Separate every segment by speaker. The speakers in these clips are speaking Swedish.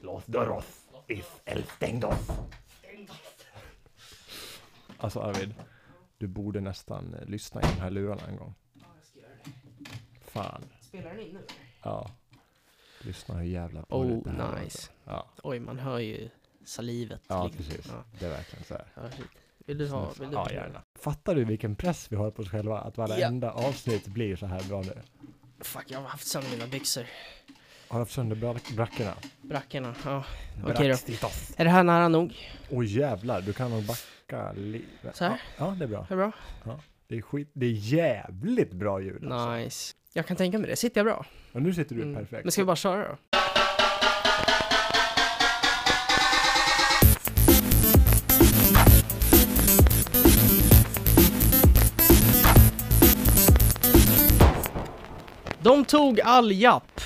Speaker 1: Los Doros is el stängdos. Alltså Arvid, du borde nästan eh, lyssna i de här lurarna en gång.
Speaker 2: Ja, jag ska göra det.
Speaker 1: Fan.
Speaker 2: Spelar den in nu? eller?
Speaker 1: Ja. Lyssna hur jävla dåligt det här
Speaker 3: Oh,
Speaker 1: låter.
Speaker 3: nice.
Speaker 1: Ja,
Speaker 3: Oj, man hör ju salivet.
Speaker 1: ja
Speaker 3: liksom.
Speaker 1: precis.
Speaker 3: Ja,
Speaker 1: Det är verkligen så här.
Speaker 3: ja, shit. vill du ha? Vill du
Speaker 1: Ja, gärna. Fattar du vilken press vi har på oss själva? Att varenda avsnitt blir så här bra nu.
Speaker 3: Fuck, jag har haft sönder mina byxor.
Speaker 1: Har du haft sönder bra- brackorna?
Speaker 3: Brackorna, ja. Okej då.
Speaker 1: Brackstitas.
Speaker 3: Är det här nära nog?
Speaker 1: Åh jävlar, du kan nog backa livet.
Speaker 3: Så här?
Speaker 1: Ja, ja, det är bra.
Speaker 3: Är det bra?
Speaker 1: Det är, skit, det är jävligt bra ljud alltså.
Speaker 3: Nice. Jag kan tänka mig det. Sitter jag bra?
Speaker 1: Och nu sitter du
Speaker 3: Mm.
Speaker 1: perfekt.
Speaker 3: Men ska vi bara köra då? De tog all japp.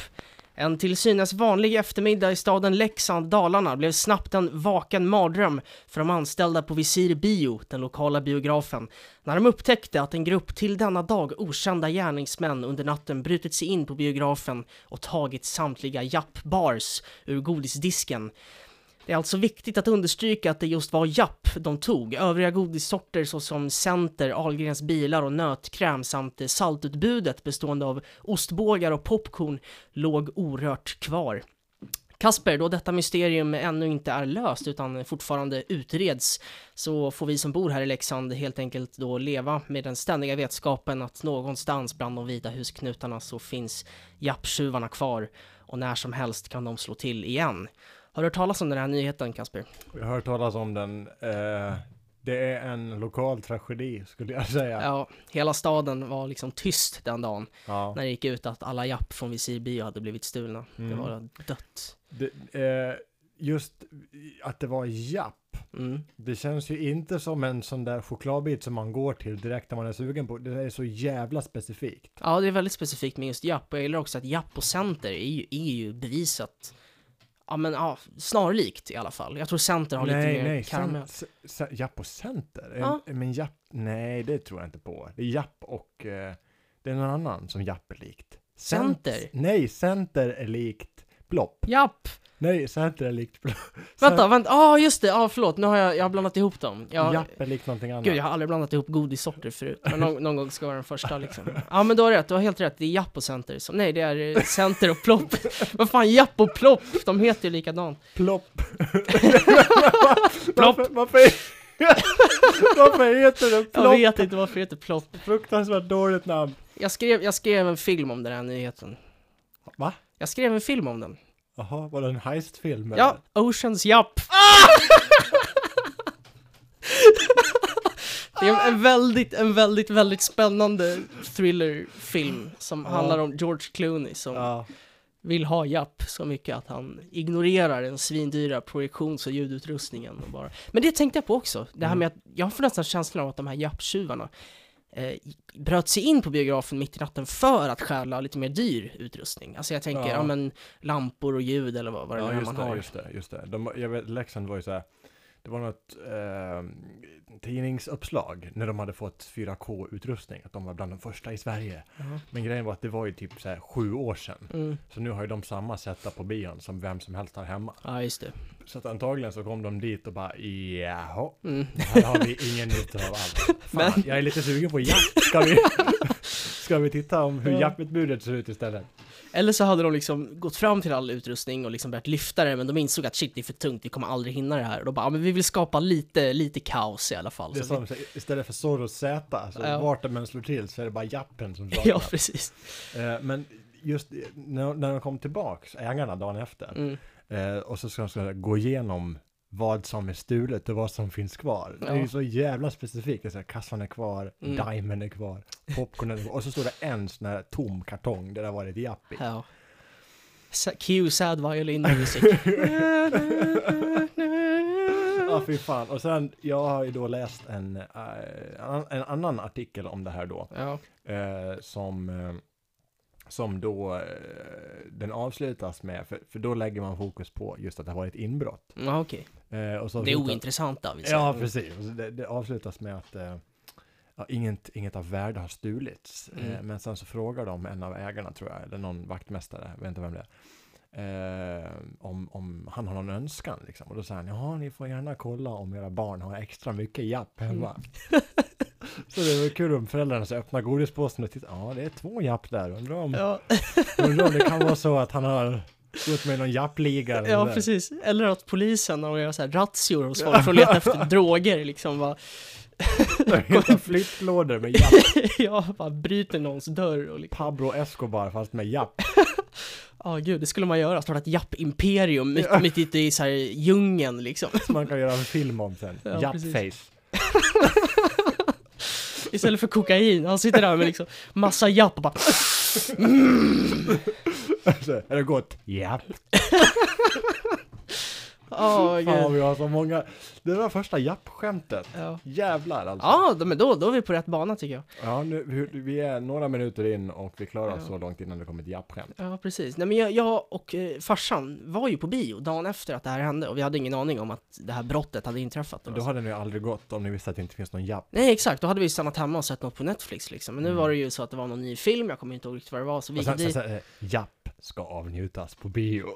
Speaker 3: En till synes vanlig eftermiddag i staden Leksand, Dalarna, blev snabbt en vaken mardröm för de anställda på Visir Bio, den lokala biografen, när de upptäckte att en grupp till denna dag okända gärningsmän under natten brutit sig in på biografen och tagit samtliga Japp-bars ur godisdisken. Det är alltså viktigt att understryka att det just var Japp de tog. Övriga godissorter såsom Center, Ahlgrens bilar och nötkräm samt eh, saltutbudet bestående av ostbågar och popcorn låg orört kvar. Kasper, då detta mysterium ännu inte är löst utan fortfarande utreds så får vi som bor här i Leksand helt enkelt då leva med den ständiga vetskapen att någonstans bland de vita husknutarna så finns japptjuvarna kvar och när som helst kan de slå till igen. Har du hört talas om den här nyheten Kasper?
Speaker 1: Jag har hört talas om den. Eh, det är en lokal tragedi skulle jag säga.
Speaker 3: Ja, hela staden var liksom tyst den dagen
Speaker 1: Ja.
Speaker 3: när det gick ut att alla japp från Visir Bio hade blivit stulna. Det
Speaker 1: Mm.
Speaker 3: var dött.
Speaker 1: Det, eh, just att det var japp.
Speaker 3: Mm.
Speaker 1: Det känns ju inte som en sån där chokladbit som man går till direkt när man är sugen på. Det är så jävla specifikt.
Speaker 3: Ja, det är väldigt specifikt med just Japp och jag gillar också att Japp och Center är ju, är ju bevisat Ja men ja, snarlikt i alla fall. Jag tror Center har lite mer karamell.
Speaker 1: cent- ce- Japp och center? Är-
Speaker 3: Ja.
Speaker 1: Men japp, nej det tror jag inte på. Det är japp och eh, det är någon annan som japp är likt. Cent-
Speaker 3: Center?
Speaker 1: Nej, center är likt plopp.
Speaker 3: Japp!
Speaker 1: Nej, center är likt plopp.
Speaker 3: Vänta, vänta, ja just det, ja förlåt, nu har jag, jag har blandat ihop dem. Jag,
Speaker 1: Japp är likt någonting annat.
Speaker 3: Gud, jag har aldrig blandat ihop godissorter förut, men någon, någon gång ska vara den första liksom. Ja men du har rätt, du har helt rätt, det är Japp och Center som, nej det är eh, Center och Plopp. Vad fan, Japp och Plopp, de heter ju likadant.
Speaker 1: Plopp. Varför, varför, varför heter det
Speaker 3: Jag
Speaker 1: plopp?
Speaker 3: vet inte varför det heter Plopp.
Speaker 1: Fruktansvärt dåligt namn.
Speaker 3: Jag skrev, jag skrev en film om den här nyheten.
Speaker 1: Va?
Speaker 3: Jag skrev en film om den.
Speaker 1: Jaha, var det en heistfilm?
Speaker 3: Ja, Oceans Japp. Det är en väldigt, en väldigt, väldigt spännande thrillerfilm som
Speaker 1: Ja.
Speaker 3: handlar om George Clooney som
Speaker 1: Ja.
Speaker 3: vill ha Japp så mycket att han ignorerar den svindyra projektions och ljudutrustningen och bara. Men det tänkte jag på också, det här
Speaker 1: Mm.
Speaker 3: med att jag får nästan känslan av att de här Japp-tjuvarna eh, bröt sig in på biografen mitt i natten för att stjäla lite mer dyr utrustning. Alltså jag tänker, ja,
Speaker 1: Ja.
Speaker 3: men lampor och ljud eller vad, vad det nu
Speaker 1: Ja,
Speaker 3: är
Speaker 1: just
Speaker 3: man
Speaker 1: det,
Speaker 3: har.
Speaker 1: just det, just det. De, jag vet, Leksand var ju så här, det var något eh, tidningsuppslag när de hade fått 4K-utrustning, att de var bland de första i Sverige.
Speaker 3: Ja.
Speaker 1: Men grejen var att det var ju typ så här sju år sedan,
Speaker 3: Mm.
Speaker 1: så nu har ju de samma setup på bion som vem som helst har hemma.
Speaker 3: Ja, just det.
Speaker 1: Så att antagligen så kom de dit och bara jaha,
Speaker 3: Mm.
Speaker 1: det här har vi ingen nytta av alls. Fan, jag är lite sugen på japp, ska vi, ska vi titta om hur
Speaker 3: Ja.
Speaker 1: japputbudet ser ut istället?
Speaker 3: Eller så hade de liksom gått fram till all utrustning och liksom börjat lyfta det, men de insåg att shit, det är för tungt, vi kommer aldrig hinna det här. Och de bara, "Ja, men vi vill skapa lite, lite kaos i alla fall.
Speaker 1: Det är
Speaker 3: Så
Speaker 1: som, istället för Soros Z, så
Speaker 3: Ja.
Speaker 1: vart de än slår till så är det bara jappen som
Speaker 3: vi...
Speaker 1: saknas.
Speaker 3: Ja, precis.
Speaker 1: Eh, Men just eh, när, när de kom tillbaks, ägarna dagen efter,
Speaker 3: Mm.
Speaker 1: eh, och så ska de så här gå igenom vad som är stulet och vad som finns kvar. Det är
Speaker 3: Ja.
Speaker 1: ju så jävla specifikt. Det är så här, kassan är kvar,
Speaker 3: Mm.
Speaker 1: dimen är kvar, popcornen är kvar. Och så står det en sån här tom kartong där det har varit japp i.
Speaker 3: Ja. Sa- Cue sad violin music.
Speaker 1: Ja, fy fan. Och sen, jag har ju då läst en, eh, en annan artikel om det här då.
Speaker 3: ja.
Speaker 1: eh, som, eh, som då eh, den avslutas med, för, för då lägger man fokus på just att det har varit inbrott.
Speaker 3: ja, okej.
Speaker 1: Eh, och så
Speaker 3: Det är
Speaker 1: avslutas-
Speaker 3: ointressant då, vi säger.
Speaker 1: Ja, precis. Och så Det, det avslutas med att eh, ja, inget, inget av värde har stulits. Eh,
Speaker 3: Mm.
Speaker 1: men sen så frågar de en av ägarna, tror jag, eller någon vaktmästare, jag vet inte vem det är, eh, om, om han har någon önskan. Liksom. Och då säger han, ja ni får gärna kolla om era barn har extra mycket japp
Speaker 3: Mm.
Speaker 1: hemma. så det var kul om föräldrarna så öppnar godispåsen och tittar, ja det är två japp där, undrar om,
Speaker 3: Ja,
Speaker 1: undrar om det kan vara så att han har gått med i någon jappliga. eller
Speaker 3: ja
Speaker 1: sådär.
Speaker 3: precis. Eller att polisen, när de gör så här razzior hos folk för att leta efter droger, liksom bara,
Speaker 1: Hela flyttlådor med japp.
Speaker 3: ja, bara bryter någons dörr och liksom,
Speaker 1: Pablo Escobar fast med japp.
Speaker 3: ja gud, det skulle man göra, starta ett japp-imperium mitt, mitt ute i så här djungeln liksom.
Speaker 1: Som man kan göra en film om sen.
Speaker 3: Ja,
Speaker 1: Japp-face.
Speaker 3: Istället för kokain, han sitter där med liksom massa japp och bara
Speaker 1: Så, Alltså, Är det gott? Japp.
Speaker 3: Åh
Speaker 1: Fan
Speaker 3: gud.
Speaker 1: vi har så många. Det var första japp-skämtet.
Speaker 3: Ja,
Speaker 1: Jävlar alltså.
Speaker 3: ja då- men då, då är vi på rätt bana tycker jag.
Speaker 1: Ja, nu, hur- vi är några minuter in och vi klarar oss
Speaker 3: Ja.
Speaker 1: så långt innan det kommer ett japp-skämt.
Speaker 3: Ja, precis. Nej, men jag, jag och eh, farsan var ju på bio dagen efter att det här hände och vi hade ingen aning om att det här brottet hade inträffat.
Speaker 1: Då hade ni ju aldrig gått om ni visste att det inte finns någon japp.
Speaker 3: Nej, exakt. Då hade vi stannat hemma och sett något på Netflix liksom. Men nu
Speaker 1: Mm.
Speaker 3: var det ju så att det var någon ny film, jag kommer inte ihåg riktigt vad det var, så vi
Speaker 1: Och
Speaker 3: gick
Speaker 1: sen, sen,
Speaker 3: dit.
Speaker 1: sen, eh, japp ska avnjutas på bio.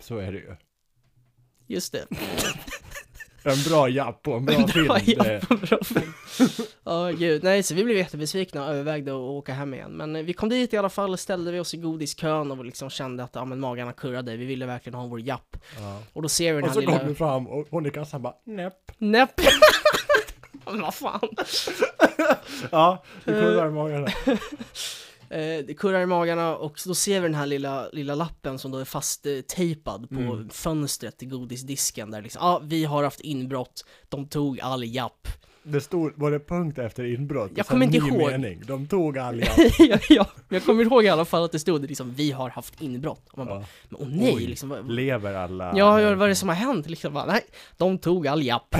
Speaker 1: Så är det ju.
Speaker 3: Just det.
Speaker 1: En bra japp och en bra
Speaker 3: En
Speaker 1: film.
Speaker 3: bra
Speaker 1: Det,
Speaker 3: japp, en bra film. Ja, gud. Nej, så vi blev jättebesvikna och övervägde att åka hem igen. Men eh, vi kom dit i alla fall, ställde vi oss i godiskön och liksom kände att ja, men magarna kurrade. Vi ville verkligen ha vår japp.
Speaker 1: ja.
Speaker 3: Och då ser vi den
Speaker 1: Och
Speaker 3: här
Speaker 1: så
Speaker 3: lilla...
Speaker 1: kom du fram och hon i kassan bara näpp.
Speaker 3: Näpp! Men vad fan?
Speaker 1: Ja, du kollar i magen. där.
Speaker 3: Eh, det kurrar i magarna och då ser vi den här lilla, lilla lappen som då är fasttejpad på
Speaker 1: Mm.
Speaker 3: fönstret till godisdisken där liksom, ja ah, vi har haft inbrott, de tog all japp.
Speaker 1: Det stod, var det punkt efter inbrott?
Speaker 3: Jag
Speaker 1: Så
Speaker 3: kommer inte
Speaker 1: ny
Speaker 3: ihåg.
Speaker 1: Mening. De tog all japp.
Speaker 3: ja, ja, men jag kommer ihåg i alla fall att det stod liksom, vi har haft inbrott. Och man bara,
Speaker 1: Ja.
Speaker 3: men åh nej,
Speaker 1: Oj.
Speaker 3: liksom, vad,
Speaker 1: Lever alla?
Speaker 3: Ja, ja, vad är det som har hänt? Liksom bara, nej, de tog all japp.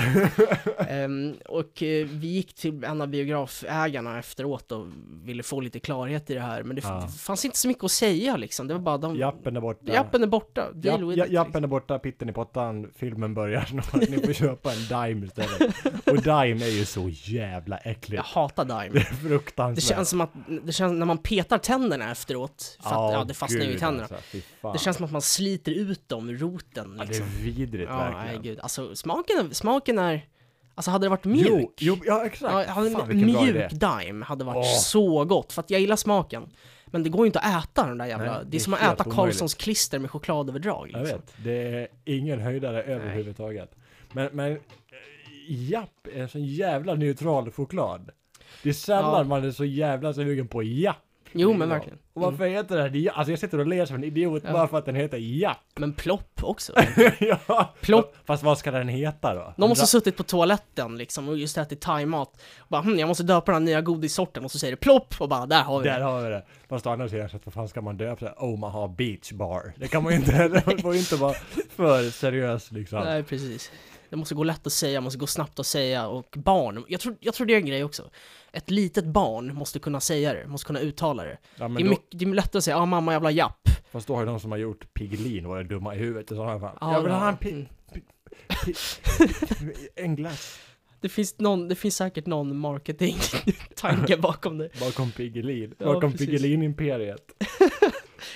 Speaker 3: Ehm, och eh, vi gick till en av biografägarna efteråt och ville få lite klarhet i det här, men det f-
Speaker 1: Ja.
Speaker 3: fanns inte så mycket att säga liksom. Det var bara de...
Speaker 1: Jappen är borta.
Speaker 3: Jappen är borta,
Speaker 1: Japp,
Speaker 3: deal with
Speaker 1: ja,
Speaker 3: it.
Speaker 1: jappen är borta, pitten i pottan, filmen börjar snart, ni får köpa en Dime istället. Och Dime är ju så jävla
Speaker 3: Jag
Speaker 1: äckligt.
Speaker 3: hatar
Speaker 1: Det
Speaker 3: Dime.
Speaker 1: är fruktansvärt.
Speaker 3: Det känns som att, det känns när man petar tänderna efteråt, för att, ja det fastnar ju i
Speaker 1: gud,
Speaker 3: tänderna.
Speaker 1: Alltså, fy fan.
Speaker 3: Det känns som att man sliter ut dem ur roten
Speaker 1: ja, det är
Speaker 3: liksom.
Speaker 1: vidrigt
Speaker 3: Ja, nej
Speaker 1: verkligen.
Speaker 3: gud. Alltså smaken, smaken är, alltså hade det varit mjuk.
Speaker 1: Jo, jo, ja exakt.
Speaker 3: Ja, han-
Speaker 1: fan vilken bra idé.
Speaker 3: mjuk Dime hade varit
Speaker 1: Åh.
Speaker 3: så gott, för att jag gillar smaken. Men det går ju inte att äta den där jävla,
Speaker 1: Nej,
Speaker 3: det är
Speaker 1: det är
Speaker 3: som att
Speaker 1: helt
Speaker 3: äta
Speaker 1: omöjligt.
Speaker 3: Karlssons klister med chokladöverdrag
Speaker 1: Jag
Speaker 3: liksom.
Speaker 1: vet, det är ingen höjdare överhuvudtaget. Men, men eh, Japp är en sån jävla neutral choklad. Det är sällan
Speaker 3: Ja.
Speaker 1: man är så jävla sugen på Japp.
Speaker 3: Jo men verkligen. Mm.
Speaker 1: Och varför heter den Japp? Alltså jag sitter och ler som en idiot
Speaker 3: Ja.
Speaker 1: bara för att den heter Japp.
Speaker 3: Men plopp också.
Speaker 1: ja.
Speaker 3: Plopp.
Speaker 1: Fast vad ska den heta då?
Speaker 3: De måste ha suttit på toaletten liksom och just ätit thaimat. Och Bara hm, jag måste döpa den här nya godissorten och så säger det plopp och bara där har vi
Speaker 1: Där
Speaker 3: det.
Speaker 1: har vi det. Fast å andra sidan, så att vad fan ska man döpa det? Omaha Beach Bar. Det kan man ju inte, det får ju inte vara för seriös liksom.
Speaker 3: Nej precis. Det måste gå lätt att säga, måste gå snabbt att säga och barn, jag tror, jag tror det är en grej också. Ett litet barn måste kunna säga det, måste kunna uttala det.
Speaker 1: Ja,
Speaker 3: Det är,
Speaker 1: men då,
Speaker 3: mycket, det är lätt att säga ah, mamma jävla japp.
Speaker 1: fast då har ju de som har gjort Piggelin varit dumma i huvudet i sådana fall.
Speaker 3: Ja,
Speaker 1: jag vill
Speaker 3: ja.
Speaker 1: ha en pi-
Speaker 3: Mm.
Speaker 1: pi- En glass
Speaker 3: Det finns, någon, det finns säkert någon marketingtanke bakom det.
Speaker 1: bakom Piggelin.
Speaker 3: Ja,
Speaker 1: Bakom
Speaker 3: precis.
Speaker 1: Piggelin-imperiet.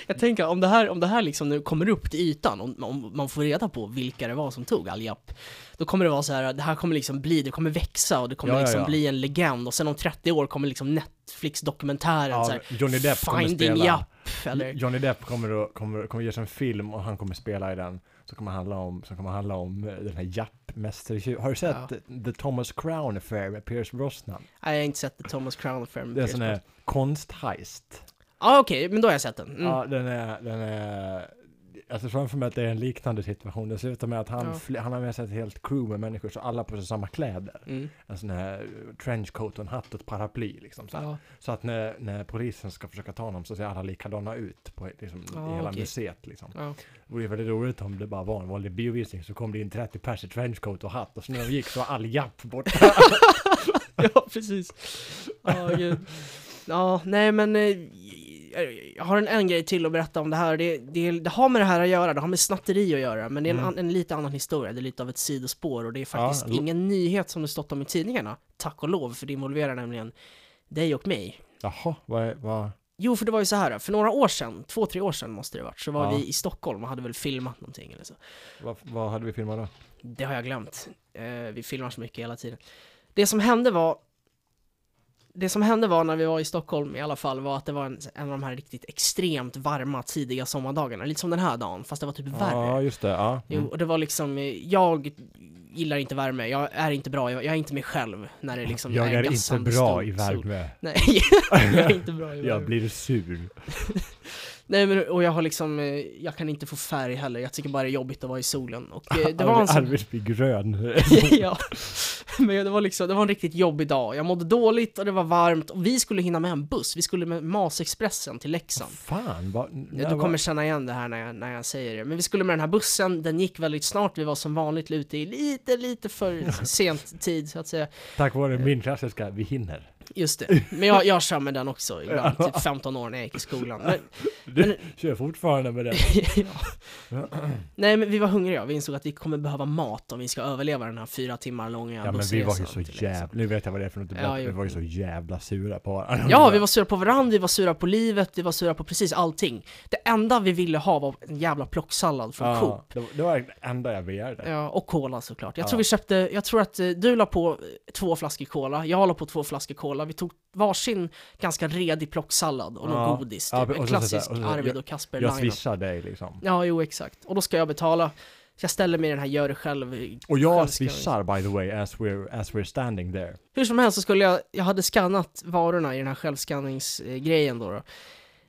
Speaker 3: Jag tänker om det här, om det här liksom nu kommer upp till ytan, om, om man får reda på vilka det var som tog all japp, då kommer det vara så här, det här kommer liksom bli, det kommer växa och det kommer
Speaker 1: Ja, ja,
Speaker 3: liksom
Speaker 1: ja.
Speaker 3: bli en legend och sen om 30 år kommer liksom Netflix-dokumentären så
Speaker 1: Ja,
Speaker 3: här,
Speaker 1: Johnny Depp kommer
Speaker 3: Finding
Speaker 1: spela.
Speaker 3: Japp, eller
Speaker 1: Johnny Depp kommer att kommer, kommer ge sig en film och han kommer spela i den. Som kommer handla om, som kommer handla om eh, den här Japp-mästertjuven. Har du sett The Thomas Crown Affair med Pierce Brosnan?
Speaker 3: nej jag har inte sett The Thomas Crown Affair
Speaker 1: Det är
Speaker 3: med
Speaker 1: en sån
Speaker 3: Mm, Pierce
Speaker 1: här
Speaker 3: Brosnan.
Speaker 1: konstheist.
Speaker 3: Ja okej, men då har jag sett den. Mm.
Speaker 1: Ja, den är, den är... Jag ser framför mig att det är en liknande situation. Det ser ut som att han,
Speaker 3: Ja.
Speaker 1: fl- han har med sig ett helt crew med människor, så alla har på sig samma kläder.
Speaker 3: Mm.
Speaker 1: En sån här eh, trenchcoat och en hatt och ett paraply liksom. Så, här.
Speaker 3: Ja.
Speaker 1: så att när, när polisen ska försöka ta honom så ser alla likadana ut på, liksom,
Speaker 3: Ja,
Speaker 1: i hela
Speaker 3: okej.
Speaker 1: museet liksom.
Speaker 3: Ja.
Speaker 1: Det vore väldigt roligt om det bara var en vanlig biovisning så kom det in 30 pers i trenchcoat och hatt och så när de gick så var all japp borta.
Speaker 3: Ja, precis. Ja, gud. Ja, nej men eh, jag har en, en grej till att berätta om det här. Det, det, det har med det här att göra, det har med snatteri att göra, men det är en,
Speaker 1: Mm.
Speaker 3: an- en lite annan historia, det är lite av ett sidospår och det är faktiskt
Speaker 1: lo-
Speaker 3: ingen nyhet som det stått om i tidningarna, tack och lov, för det involverar nämligen dig och mig.
Speaker 1: Jaha, vad, är- vad,
Speaker 3: Jo, för det var ju så här, för några år sedan, två, tre år sedan måste det varit, så var
Speaker 1: Ja.
Speaker 3: vi i Stockholm och hade väl filmat någonting eller så.
Speaker 1: Vad, vad hade vi filmat då?
Speaker 3: Det har jag glömt. Eh, vi filmar så mycket hela tiden. Det som hände var det som hände var när vi var i Stockholm i alla fall var att det var en, en av de här riktigt extremt varma tidiga sommardagarna. Lite som den här dagen, fast det var typ värre.
Speaker 1: Ja, mm. just det. Ja.
Speaker 3: Jo, och det var liksom, eh, jag gillar inte värme, jag är inte bra, jag, jag är inte mig själv när det liksom
Speaker 1: jag är inte
Speaker 3: gassande
Speaker 1: bra
Speaker 3: sol-
Speaker 1: i
Speaker 3: sol.
Speaker 1: värme.
Speaker 3: Nej, jag är inte bra i värme.
Speaker 1: Jag blir sur.
Speaker 3: Nej men, och jag har liksom, eh, jag kan inte få färg heller, jag tycker bara det är jobbigt att vara i solen. Och eh, det var en sån... Liksom.
Speaker 1: Arvid blir grön.
Speaker 3: ja. Men det var liksom, det var en riktigt jobbig dag. Jag mådde dåligt och det var varmt och vi skulle hinna med en buss. Vi skulle med Masexpressen till Leksand.
Speaker 1: Fan, vad... när
Speaker 3: Ja, du
Speaker 1: var-
Speaker 3: kommer känna igen det här när jag, när jag säger det. Men vi skulle med den här bussen, den gick väldigt snart. Vi var som vanligt ute i lite, lite för sent tid så att säga.
Speaker 1: Tack vare
Speaker 3: Eh.
Speaker 1: min klassiska, vi hinner.
Speaker 3: Just det. Men jag, jag kör med den också ibland, typ 15 år när jag gick i skolan. Men,
Speaker 1: Du
Speaker 3: Men-
Speaker 1: kör fortfarande med det.
Speaker 3: nej men vi var hungriga, vi insåg att vi kommer behöva mat om vi ska överleva den här fyra timmar långa
Speaker 1: Ja men vi
Speaker 3: bussresan
Speaker 1: var ju
Speaker 3: till
Speaker 1: så
Speaker 3: Leksand.
Speaker 1: jävla, nu vet jag vad det är för något
Speaker 3: Ja,
Speaker 1: ja,
Speaker 3: jo.
Speaker 1: vi var ju så jävla sura på varandra.
Speaker 3: Ja, vi var sura på varandra, vi var sura på livet, vi var sura på precis allting. Det enda vi ville ha var en jävla plocksallad från
Speaker 1: Ja,
Speaker 3: Coop.
Speaker 1: Det var, det var det enda jag begärde.
Speaker 3: Ja, och cola såklart. Jag
Speaker 1: Ja.
Speaker 3: tror vi köpte, jag tror att eh, du la på eh, två flaskor cola, jag la på två flaskor cola, vi tog varsin ganska redig plocksallad och
Speaker 1: Ja.
Speaker 3: någon godis.
Speaker 1: Ja,
Speaker 3: Typ. en
Speaker 1: och så- så-
Speaker 3: klassisk
Speaker 1: och så-
Speaker 3: Arvid och Kasper
Speaker 1: Jag
Speaker 3: line-up.
Speaker 1: swishade dig liksom.
Speaker 3: Ja, jo exakt. Och då ska jag betala. Så Jag ställer mig i den här gör det själv
Speaker 1: Och
Speaker 3: Själv
Speaker 1: jag
Speaker 3: ska jag-
Speaker 1: swishar by the way as we're, as we're standing there.
Speaker 3: Hur som helst så skulle jag, jag hade skannat varorna i den här självskanningsgrejen då. då.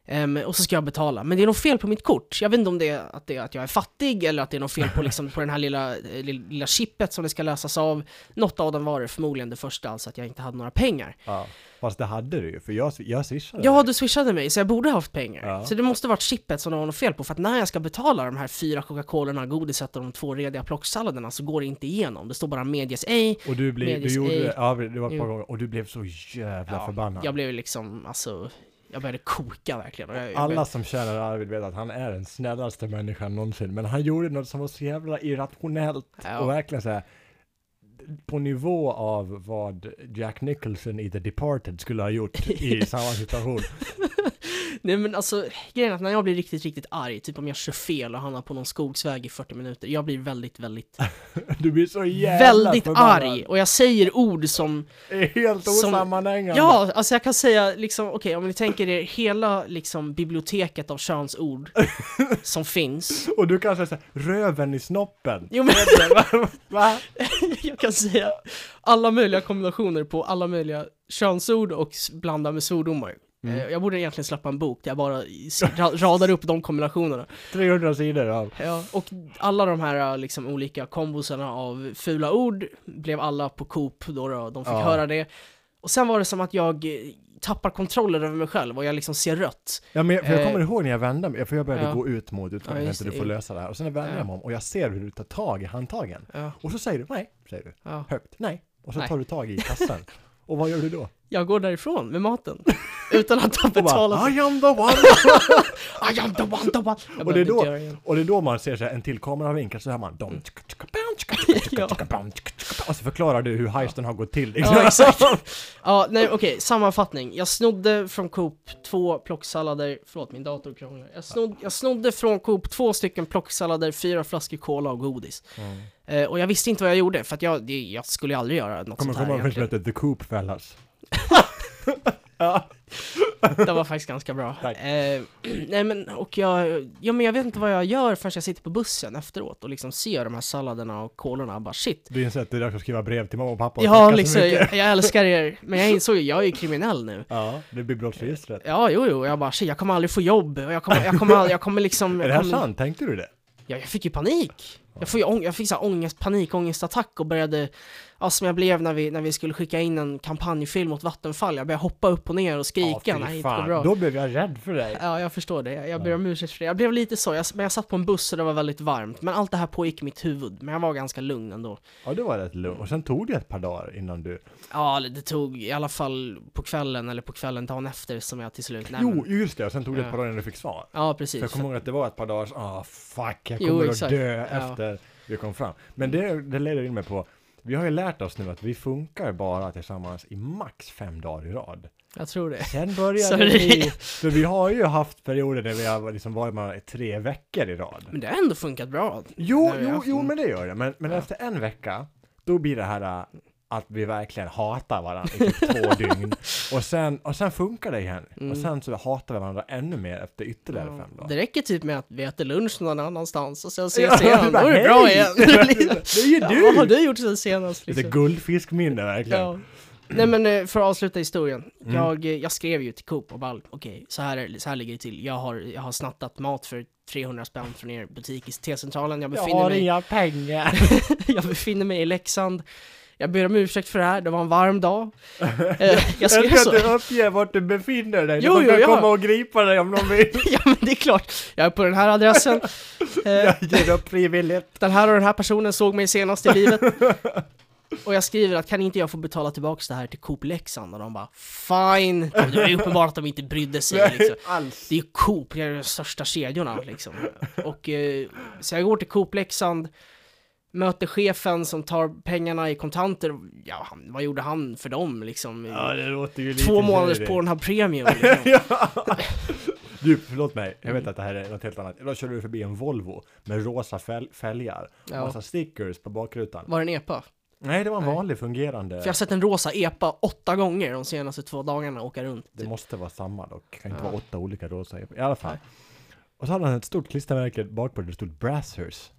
Speaker 3: Ehm, och så ska jag betala, men det är något fel på mitt kort. Jag vet inte om det är att, det är att jag är fattig eller att det är något fel på, liksom, på den här lilla, eh, lill- lilla chippet som det ska läsas av. Något av dem var det förmodligen det första, alltså att jag inte hade några pengar.
Speaker 1: Ja. Fast det hade du ju, för jag, jag swishade
Speaker 3: Ja,
Speaker 1: dig.
Speaker 3: du swishade mig, så jag borde ha haft pengar.
Speaker 1: Ja.
Speaker 3: Så det måste varit chippet som det var något fel på, för att när jag ska betala de här fyra Coca-Colorna, godiset och de två rediga plocksalladerna så går det inte igenom. Det står bara medges ej.
Speaker 1: Och du, blev, du
Speaker 3: Medis
Speaker 1: gjorde
Speaker 3: ej.
Speaker 1: det, ja, det var ett
Speaker 3: Jo.
Speaker 1: par gånger, och du blev så jävla
Speaker 3: Ja,
Speaker 1: förbannad.
Speaker 3: Jag blev liksom, alltså, jag började koka verkligen. Och jag, jag började-
Speaker 1: Alla som känner Arvid vet att han är den snällaste människan någonsin, men han gjorde något som var så jävla irrationellt
Speaker 3: Ja.
Speaker 1: och verkligen så här på nivå av vad Jack Nicholson i The Departed skulle ha gjort i samma situation.
Speaker 3: Nej men alltså, grejen är att när jag blir riktigt, riktigt arg, typ om jag kör fel och hamnar på någon skogsväg i 40 minuter, jag blir väldigt, väldigt,
Speaker 1: Du blir så jävla
Speaker 3: väldigt
Speaker 1: förbannad.
Speaker 3: arg och jag säger ord som,
Speaker 1: Det är Helt
Speaker 3: Som-
Speaker 1: osammanhängande.
Speaker 3: ja, alltså jag kan säga liksom, okej om ni tänker er hela liksom biblioteket av könsord som finns.
Speaker 1: Och du kan säga såhär, röven i snoppen.
Speaker 3: Jo men
Speaker 1: Va?
Speaker 3: jag kan säga alla möjliga kombinationer på alla möjliga könsord och s- blanda med svordomar.
Speaker 1: Mm.
Speaker 3: Eh, Jag borde egentligen släppa en bok där jag bara s- ra- radar upp de kombinationerna.
Speaker 1: 300 sidor av.
Speaker 3: Ja, och alla de här eh, liksom, olika kombosarna av fula ord blev alla på Coop då, då de fick
Speaker 1: Ja.
Speaker 3: höra det. Och sen var det som att jag eh, tappar kontrollen över mig själv och jag liksom ser rött.
Speaker 1: Ja, men jag, för jag
Speaker 3: Eh.
Speaker 1: kommer ihåg när jag vände mig, för jag började
Speaker 3: Ja.
Speaker 1: gå ut mot utgången,
Speaker 3: Ja, just
Speaker 1: inte du
Speaker 3: det.
Speaker 1: får lösa det här. Och sen vände
Speaker 3: Ja.
Speaker 1: jag mig om och jag ser hur du tar tag i handtagen.
Speaker 3: Ja,
Speaker 1: Och så säger du nej, säger du.
Speaker 3: ja.
Speaker 1: Högt, nej. Och så
Speaker 3: Nej.
Speaker 1: tar du tag i kassen. Och vad gör du då?
Speaker 3: Jag går därifrån med maten utan att ha
Speaker 1: Och
Speaker 3: betalat.
Speaker 1: I am the one!
Speaker 3: I am the one, the one! Jag
Speaker 1: Och det är
Speaker 3: behöver inte
Speaker 1: då-
Speaker 3: göra igen.
Speaker 1: Och det är då man ser så här, en till kameravinkel, så hör man dom, tsk, tsk, bam, tsk, tsk, tsk,
Speaker 3: Mm. Ja.
Speaker 1: tsk, bam, tsk, tsk. Och så förklarar du hur heisten har gått till. liksom.
Speaker 3: Ja, exakt. Ja, nej okej, sammanfattning. Jag snodde från Coop två plocksallader, förlåt min dator krånglar. Jag, snod, jag snodde från Coop två stycken plocksallader, fyra flaskor cola och godis.
Speaker 1: Mm.
Speaker 3: Eh, och jag visste inte vad jag gjorde, för att jag, det, jag skulle ju aldrig göra något
Speaker 1: Kommer
Speaker 3: sånt här
Speaker 1: komma ihåg
Speaker 3: egentligen.
Speaker 1: heter The Coop Fellas.
Speaker 3: Det var faktiskt ganska bra.
Speaker 1: Tack.
Speaker 3: Eh, nej men, och jag, ja, men jag vet inte vad jag gör förrän jag sitter på bussen efteråt och liksom ser de här salladerna och kolorna och bara shit.
Speaker 1: Du inser att det är dags att skriva brev till mamma och pappa och tacka
Speaker 3: Ja,
Speaker 1: så
Speaker 3: liksom,
Speaker 1: mycket.
Speaker 3: jag, jag älskar er, men jag insåg ju, jag är ju kriminell nu.
Speaker 1: Ja, det blir brottsregistret.
Speaker 3: Ja, jo, jo, jag bara shit, jag kommer aldrig få jobb och jag kommer, jag kommer, aldrig- jag kommer liksom...
Speaker 1: Är det
Speaker 3: jag
Speaker 1: här
Speaker 3: kommer,
Speaker 1: sant? Tänkte du det?
Speaker 3: Ja, jag fick ju panik. Jag, får ju ång- jag fick så här ångest, panikångestattack och började, ja, som jag blev när vi, när vi skulle skicka in en kampanjfilm mot Vattenfall. Jag började hoppa upp och ner och skrika.
Speaker 1: Ja, fy
Speaker 3: Nej, inte
Speaker 1: fan.
Speaker 3: bra.
Speaker 1: Då blev jag rädd för dig.
Speaker 3: Ja, jag förstår det. Jag, jag ber om ursäkt för det. Jag blev lite så, jag, men jag satt på en buss och det var väldigt varmt. Men allt det här pågick i mitt huvud, men jag var ganska lugn ändå.
Speaker 1: Ja, det var rätt lugnt. Och sen tog det ett par dagar innan du...
Speaker 3: Ja, det tog i alla fall på kvällen, eller på kvällen dagen efter som jag till slut... Nej,
Speaker 1: Jo,
Speaker 3: men,
Speaker 1: just det. Och sen tog det ett
Speaker 3: Ja.
Speaker 1: par dagar innan du fick svar.
Speaker 3: ja,
Speaker 1: För jag
Speaker 3: precis.
Speaker 1: kommer ihåg att det var ett par dagar, så, ah fuck, jag
Speaker 3: Jo,
Speaker 1: kommer att
Speaker 3: exakt.
Speaker 1: dö
Speaker 3: Ja.
Speaker 1: efter vi kom fram. Men det, det leder in mig på, vi har ju lärt oss nu att vi funkar bara tillsammans i max fem dagar i rad.
Speaker 3: Jag tror det.
Speaker 1: Sen började
Speaker 3: Sorry.
Speaker 1: vi, för vi har ju haft perioder där vi har liksom varit med tre veckor i rad.
Speaker 3: Men det har ändå funkat bra.
Speaker 1: Jo,
Speaker 3: När vi har
Speaker 1: jo,
Speaker 3: haft
Speaker 1: jo,
Speaker 3: en-
Speaker 1: men det gör det. Men, men
Speaker 3: Ja.
Speaker 1: efter en vecka, då blir det här äh, att vi verkligen hatar varandra i typ två dygn. Och sen, och sen funkar det igen.
Speaker 3: Mm.
Speaker 1: Och sen så hatar vi varandra ännu mer efter ytterligare
Speaker 3: Ja,
Speaker 1: fem dagar.
Speaker 3: Det räcker typ med att vi äter lunch någon annanstans och sen
Speaker 1: Ja,
Speaker 3: ses igen,
Speaker 1: bara,
Speaker 3: då är det bra
Speaker 1: "Hej!"
Speaker 3: igen.
Speaker 1: Det är ju
Speaker 3: ja, vad har
Speaker 1: du!
Speaker 3: du gjort sen senast?
Speaker 1: Lite
Speaker 3: Liksom?
Speaker 1: guldfiskminne verkligen.
Speaker 3: Ja. Nej men eh, för att avsluta historien.
Speaker 1: Mm.
Speaker 3: Jag, eh, jag skrev ju till Coop och bara, okej, så, här, så här ligger det till. Jag har, jag har snattat mat för 300 spänn från er butik i T-centralen. Jag befinner, mig,
Speaker 1: inga pengar.
Speaker 3: jag befinner mig i Leksand. Jag ber om ursäkt för det här, det var en varm dag. Eh, jag skrev
Speaker 1: Jag
Speaker 3: så.
Speaker 1: ska inte uppge vart du befinner dig.
Speaker 3: Jo,
Speaker 1: De
Speaker 3: jo,
Speaker 1: kan
Speaker 3: ja.
Speaker 1: komma och gripa dig om de vill.
Speaker 3: ja men det är klart, jag är på den här adressen. Eh,
Speaker 1: Jag ger upp frivilligt.
Speaker 3: Den här och den här personen såg mig senast i livet. Och jag skriver att kan inte jag få betala tillbaka det här till Coop Leksand? Och de bara fine! Det var ju uppenbart att de inte brydde sig liksom.
Speaker 1: Alls.
Speaker 3: Det är ju Coop, det är de största kedjorna liksom. Och eh, så jag går till Coop Leksand, möter chefen som tar pengarna i kontanter. Ja, han, vad gjorde han för dem liksom?
Speaker 1: Ja, det låter ju lite
Speaker 3: Två månaders
Speaker 1: lurig.
Speaker 3: på den här premium liksom.
Speaker 1: Ja. Du, förlåt mig. Jag vet att det här är något helt annat. Då körde du förbi en Volvo med rosa fäl- fälgar. och
Speaker 3: Ja.
Speaker 1: Massa stickers på bakrutan.
Speaker 3: Var det en epa?
Speaker 1: Nej, det var en
Speaker 3: Nej.
Speaker 1: vanlig fungerande.
Speaker 3: För jag har sett en rosa epa åtta gånger de senaste två dagarna åka runt.
Speaker 1: Det måste vara samma dock, det kan inte
Speaker 3: Typ. Ja.
Speaker 1: vara åtta olika rosa i alla fall. Och så hade han ett stort klistermärke bakpå där det stod Brassers.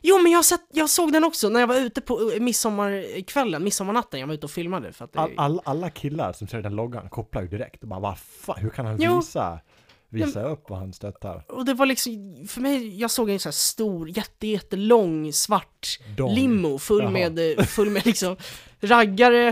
Speaker 3: Jo men jag, har sett, jag såg den också när jag var ute på eh, midsommarkvällen, midsommarnatten, jag var ute och filmade för att det,
Speaker 1: All, all, alla killar som ser den loggan kopplar ju direkt och bara vad fan, hur kan han
Speaker 3: Jo.
Speaker 1: visa, visa upp vad han stöttar?
Speaker 3: Och det var liksom, för mig, jag såg en sån här stor, jätte, jättelång svart
Speaker 1: Dong.
Speaker 3: limo full
Speaker 1: Jaha.
Speaker 3: med, eh, full med liksom raggare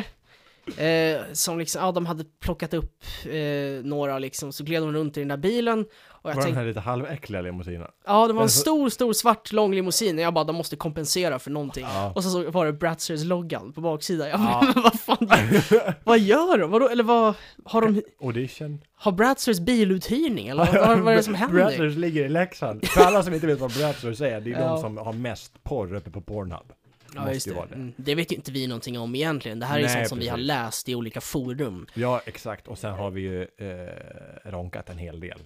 Speaker 3: eh, som liksom, ja de hade plockat upp eh, några liksom, så gled de runt i den där bilen och
Speaker 1: Var
Speaker 3: jag
Speaker 1: den
Speaker 3: tänkte,
Speaker 1: här lite halväckliga limousinen?
Speaker 3: ja det var en
Speaker 1: så-
Speaker 3: stor, stor svart lång limousin och jag bara, de måste kompensera för någonting.
Speaker 1: Ja.
Speaker 3: Och så såg- var det Bratzers-loggan på baksidan, jag bara,
Speaker 1: Ja.
Speaker 3: men vad fan, vad gör de? Vadå, eller vad, har de
Speaker 1: Audition?
Speaker 3: Har Bratzers biluthyrning eller vad, vad, vad är det som händer?
Speaker 1: Brassers ligger i Leksand. För alla som inte vet vad Brassers är, det är
Speaker 3: Ja.
Speaker 1: de som har mest porr uppe på Pornhub.
Speaker 3: Ja,
Speaker 1: Måste
Speaker 3: just
Speaker 1: ju
Speaker 3: det.
Speaker 1: vara det.
Speaker 3: Mm, det vet ju inte vi någonting om egentligen. Det här är
Speaker 1: Nej,
Speaker 3: sånt som vi har
Speaker 1: precis.
Speaker 3: läst i olika forum.
Speaker 1: Ja, exakt. Och sen har vi ju eh, ronkat en hel del.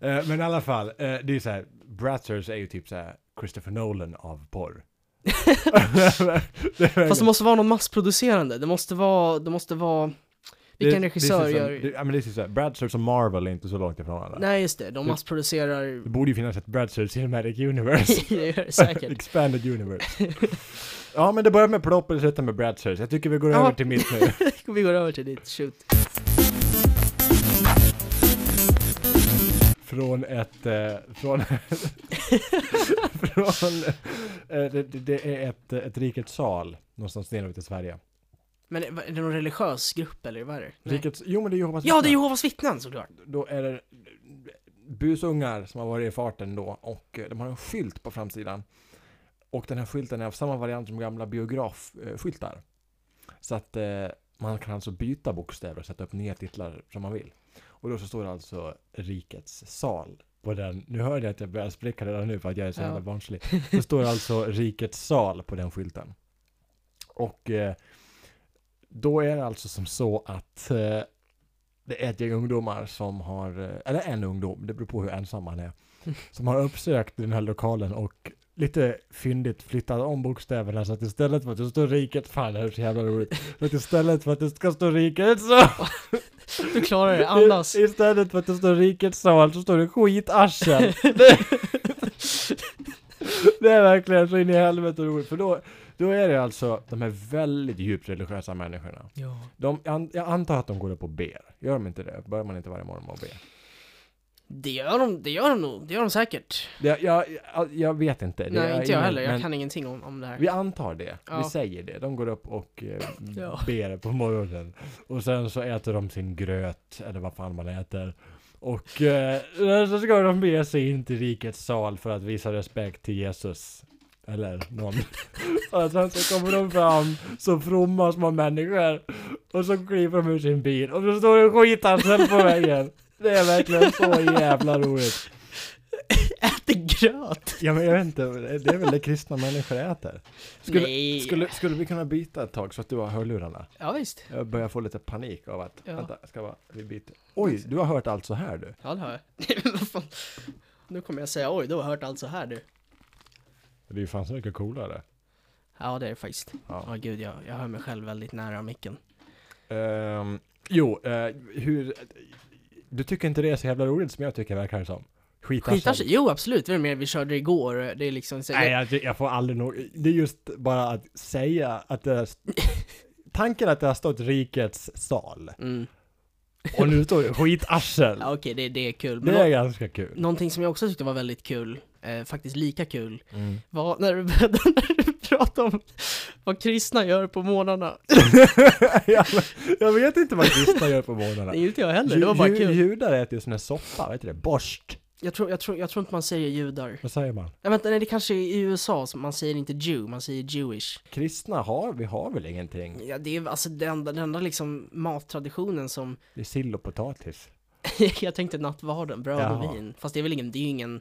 Speaker 1: eh, men i alla fall, eh, det är ju så här, Brassers är ju typ så här Christopher Nolan av porr. det är
Speaker 3: Fast det måste vara någon massproducerande. Det måste vara, det måste vara... Vilken
Speaker 1: det-
Speaker 3: regissör
Speaker 1: det är
Speaker 3: gör...
Speaker 1: som- det- Ja, men det är så här, Brassers och Marvel är inte så långt ifrån varandra.
Speaker 3: Nej just det, de
Speaker 1: Det-
Speaker 3: massproducerar...
Speaker 1: Det borde ju finnas ett Brassers Cinematic Universe.
Speaker 3: det gör det säkert.
Speaker 1: Expanded Universe. ja, men det börjar med plopp och det slutar med Brassers. Jag tycker vi går
Speaker 3: Ja.
Speaker 1: över till mitt nu.
Speaker 3: Vi går över till ditt shoot.
Speaker 1: Från ett... Eh, från... från eh, det, det- det är ett, eh, ett rikets sal någonstans neråt i Sverige.
Speaker 3: Men är är det någon religiös grupp eller vad är det? Nej.
Speaker 1: Rikets, jo men det är typ- Jehovas
Speaker 3: Ja, det är
Speaker 1: vittnen.
Speaker 3: Jehovas vittnen såklart.
Speaker 1: Då är det busungar som har varit i farten då och eh, de har en skylt på framsidan. Och den här skylten är av samma variant som gamla biografskyltar. Så att eh, man kan alltså byta bokstäver och sätta upp nya titlar som man vill. Och då så står det alltså Rikets sal på den. Nu hörde jag att jag börjar spricka redan nu för att jag är så
Speaker 3: Ja.
Speaker 1: jävla barnslig. Det står alltså Rikets sal på den skylten. Och eh, då är det alltså som så att eh, det är ett gäng ungdomar som har, eh, eller en ungdom, det beror på hur ensam han är, som har uppsökt den här lokalen och lite fyndigt flyttat om bokstäverna så att istället för att det står riket, fan det här är så jävla roligt, så att istället för att det ska stå riket så
Speaker 3: Du klarar det, andas.
Speaker 1: I- Istället för att det står rikets sal så står det skitarsel. det, det är verkligen så in i helvete roligt. För då, då är det alltså de här väldigt djupt religiösa människorna.
Speaker 3: Ja.
Speaker 1: De, jag an- jag antar att de går upp och ber. Gör de inte det? Börjar man inte varje morgon med att be?
Speaker 3: Det gör de, det gör de nog. Det gör de säkert.
Speaker 1: Det, jag, jag, jag vet inte. Det
Speaker 3: Nej,
Speaker 1: är
Speaker 3: inte jag
Speaker 1: ingen-
Speaker 3: heller. Jag
Speaker 1: men
Speaker 3: kan ingenting om, om det här.
Speaker 1: Vi antar det.
Speaker 3: Ja.
Speaker 1: Vi säger det. De går upp och eh,
Speaker 3: Ja.
Speaker 1: ber på morgonen. Och sen så äter de sin gröt, eller vad fan man äter. Och eh, så ska de bege sig in till rikets sal för att visa respekt till Jesus. Eller någon. och sen så kommer de fram som fromma små människor. Och så kliver de ur sin bil och så står det skitarsel på vägen. Det är verkligen så jävla roligt.
Speaker 3: äter gröt?
Speaker 1: Ja, men jag vet inte, det är väl det kristna människor äter? Skulle,
Speaker 3: Nej.
Speaker 1: skulle, skulle vi kunna byta ett tag så att du har hörlurarna?
Speaker 3: Ja, visst.
Speaker 1: Jag börjar få lite panik av att,
Speaker 3: Ja.
Speaker 1: vänta, ska bara, vi byter. Oj, du har hört allt så här du.
Speaker 3: Ja, det har jag. Vad fan? nu kommer jag säga oj, du har hört allt så här du.
Speaker 1: Det är ju fan så mycket coolare.
Speaker 3: Ja, det är det faktiskt. Ja,
Speaker 1: Ja.
Speaker 3: gud, jag, jag hör mig själv väldigt nära micken.
Speaker 1: Ehm, jo, eh, hur... Du tycker inte det är så jävla roligt som jag tycker verkar det som? Skitar
Speaker 3: Skitar sig? Jo, absolut. Det var mer vi körde igår. Det är liksom så,
Speaker 1: Nej, jag, jag får aldrig nog... Det är just bara att säga att det... har- Tanken att det har stått rikets sal
Speaker 3: Mm.
Speaker 1: och nu står det skitarsel.
Speaker 3: Ja, okej, det, det är kul. Men
Speaker 1: Det är ganska kul.
Speaker 3: Någonting som jag också tyckte var väldigt kul, eh, faktiskt lika kul, var när du började när du pratade om vad kristna gör på månaderna.
Speaker 1: jag, jag vet inte vad kristna gör på morgnarna.
Speaker 3: Nej, inte jag heller. Det var bara
Speaker 1: Ju- ju-
Speaker 3: kul.
Speaker 1: Judar äter ju sån här soppa, vet du det? Borst.
Speaker 3: Jag tror, jag, tror, jag tror inte man säger judar.
Speaker 1: Vad säger man?
Speaker 3: Nej, vänta, nej, det kanske är i USA som man säger inte Jew, man säger Jewish.
Speaker 1: Kristna har, vi har väl ingenting?
Speaker 3: Ja, det är alltså den enda, den enda liksom mattraditionen som,
Speaker 1: Det är sill och potatis.
Speaker 3: jag tänkte nattvarden, bröd
Speaker 1: Jaha.
Speaker 3: och vin. Fast det är väl ingen, det är ju ingen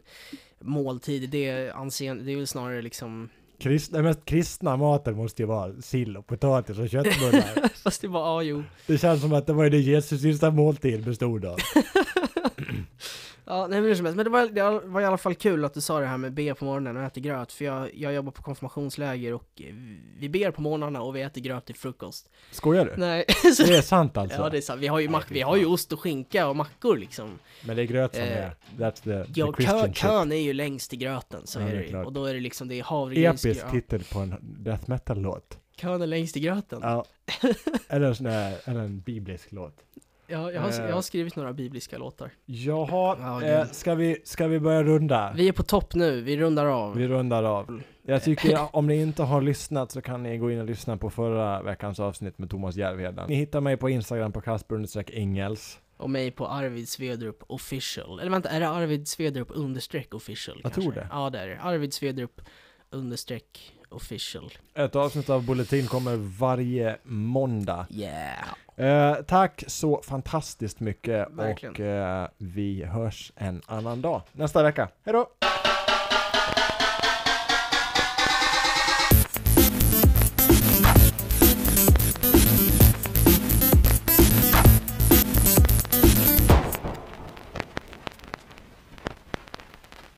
Speaker 3: måltid, det är anseende, det är väl snarare liksom,
Speaker 1: Krist, den mest kristna maten måste ju vara sill och potatis och köttbullar.
Speaker 3: fast det var, ja jo.
Speaker 1: det känns som att det var ju det Jesus sista måltid bestod av.
Speaker 3: Ja, nej, men, hur som helst. men det, var, det var i alla fall kul att du sa det här med be på morgonen och äta gröt, för jag, jag jobbar på konfirmationsläger och eh, vi ber på morgnarna och vi äter gröt till frukost.
Speaker 1: Skojar du?
Speaker 3: Nej, så,
Speaker 1: Det är sant alltså?
Speaker 3: ja det är sant. Vi har ju, mack, vi har ju ost och skinka och mackor liksom.
Speaker 1: Men det är gröt som
Speaker 3: Eh,
Speaker 1: är... That's the,
Speaker 3: Ja,
Speaker 1: the
Speaker 3: kö,
Speaker 1: Christian shit.
Speaker 3: kön är ju längst till gröten, så
Speaker 1: Ja,
Speaker 3: är
Speaker 1: det är
Speaker 3: det ju.
Speaker 1: klart.
Speaker 3: Och då är det liksom, det är havregrynsgröt.
Speaker 1: Episk titel på en death metal-låt.
Speaker 3: Kön är längst till gröten. Ja,
Speaker 1: Ja. eller, en sån där, eller en biblisk låt.
Speaker 3: jag, har,
Speaker 1: Eh.
Speaker 3: jag har skrivit några bibliska låtar.
Speaker 1: Jaha,
Speaker 3: Ja,
Speaker 1: eh,
Speaker 3: gud.
Speaker 1: ska, vi, ska vi börja runda?
Speaker 3: Vi är på topp nu, vi rundar av.
Speaker 1: Vi rundar av. Jag tycker om ni inte har lyssnat så kan ni gå in och lyssna på förra veckans avsnitt med Thomas Järvheden. Ni hittar mig på Instagram på kasper-ingels.
Speaker 3: Och mig på Arvid Svedrup official. Eller vänta, är det Arvid Svedrup understreck official?
Speaker 1: Jag
Speaker 3: kanske?
Speaker 1: tror det.
Speaker 3: Ja, det är det. Arvid Svedrup understreck official.
Speaker 1: Ett avsnitt av Bulletin kommer varje måndag.
Speaker 3: Yeah!
Speaker 1: Eh, tack så fantastiskt mycket
Speaker 3: Verkligen.
Speaker 1: och eh, vi hörs en annan dag nästa vecka. Hej då!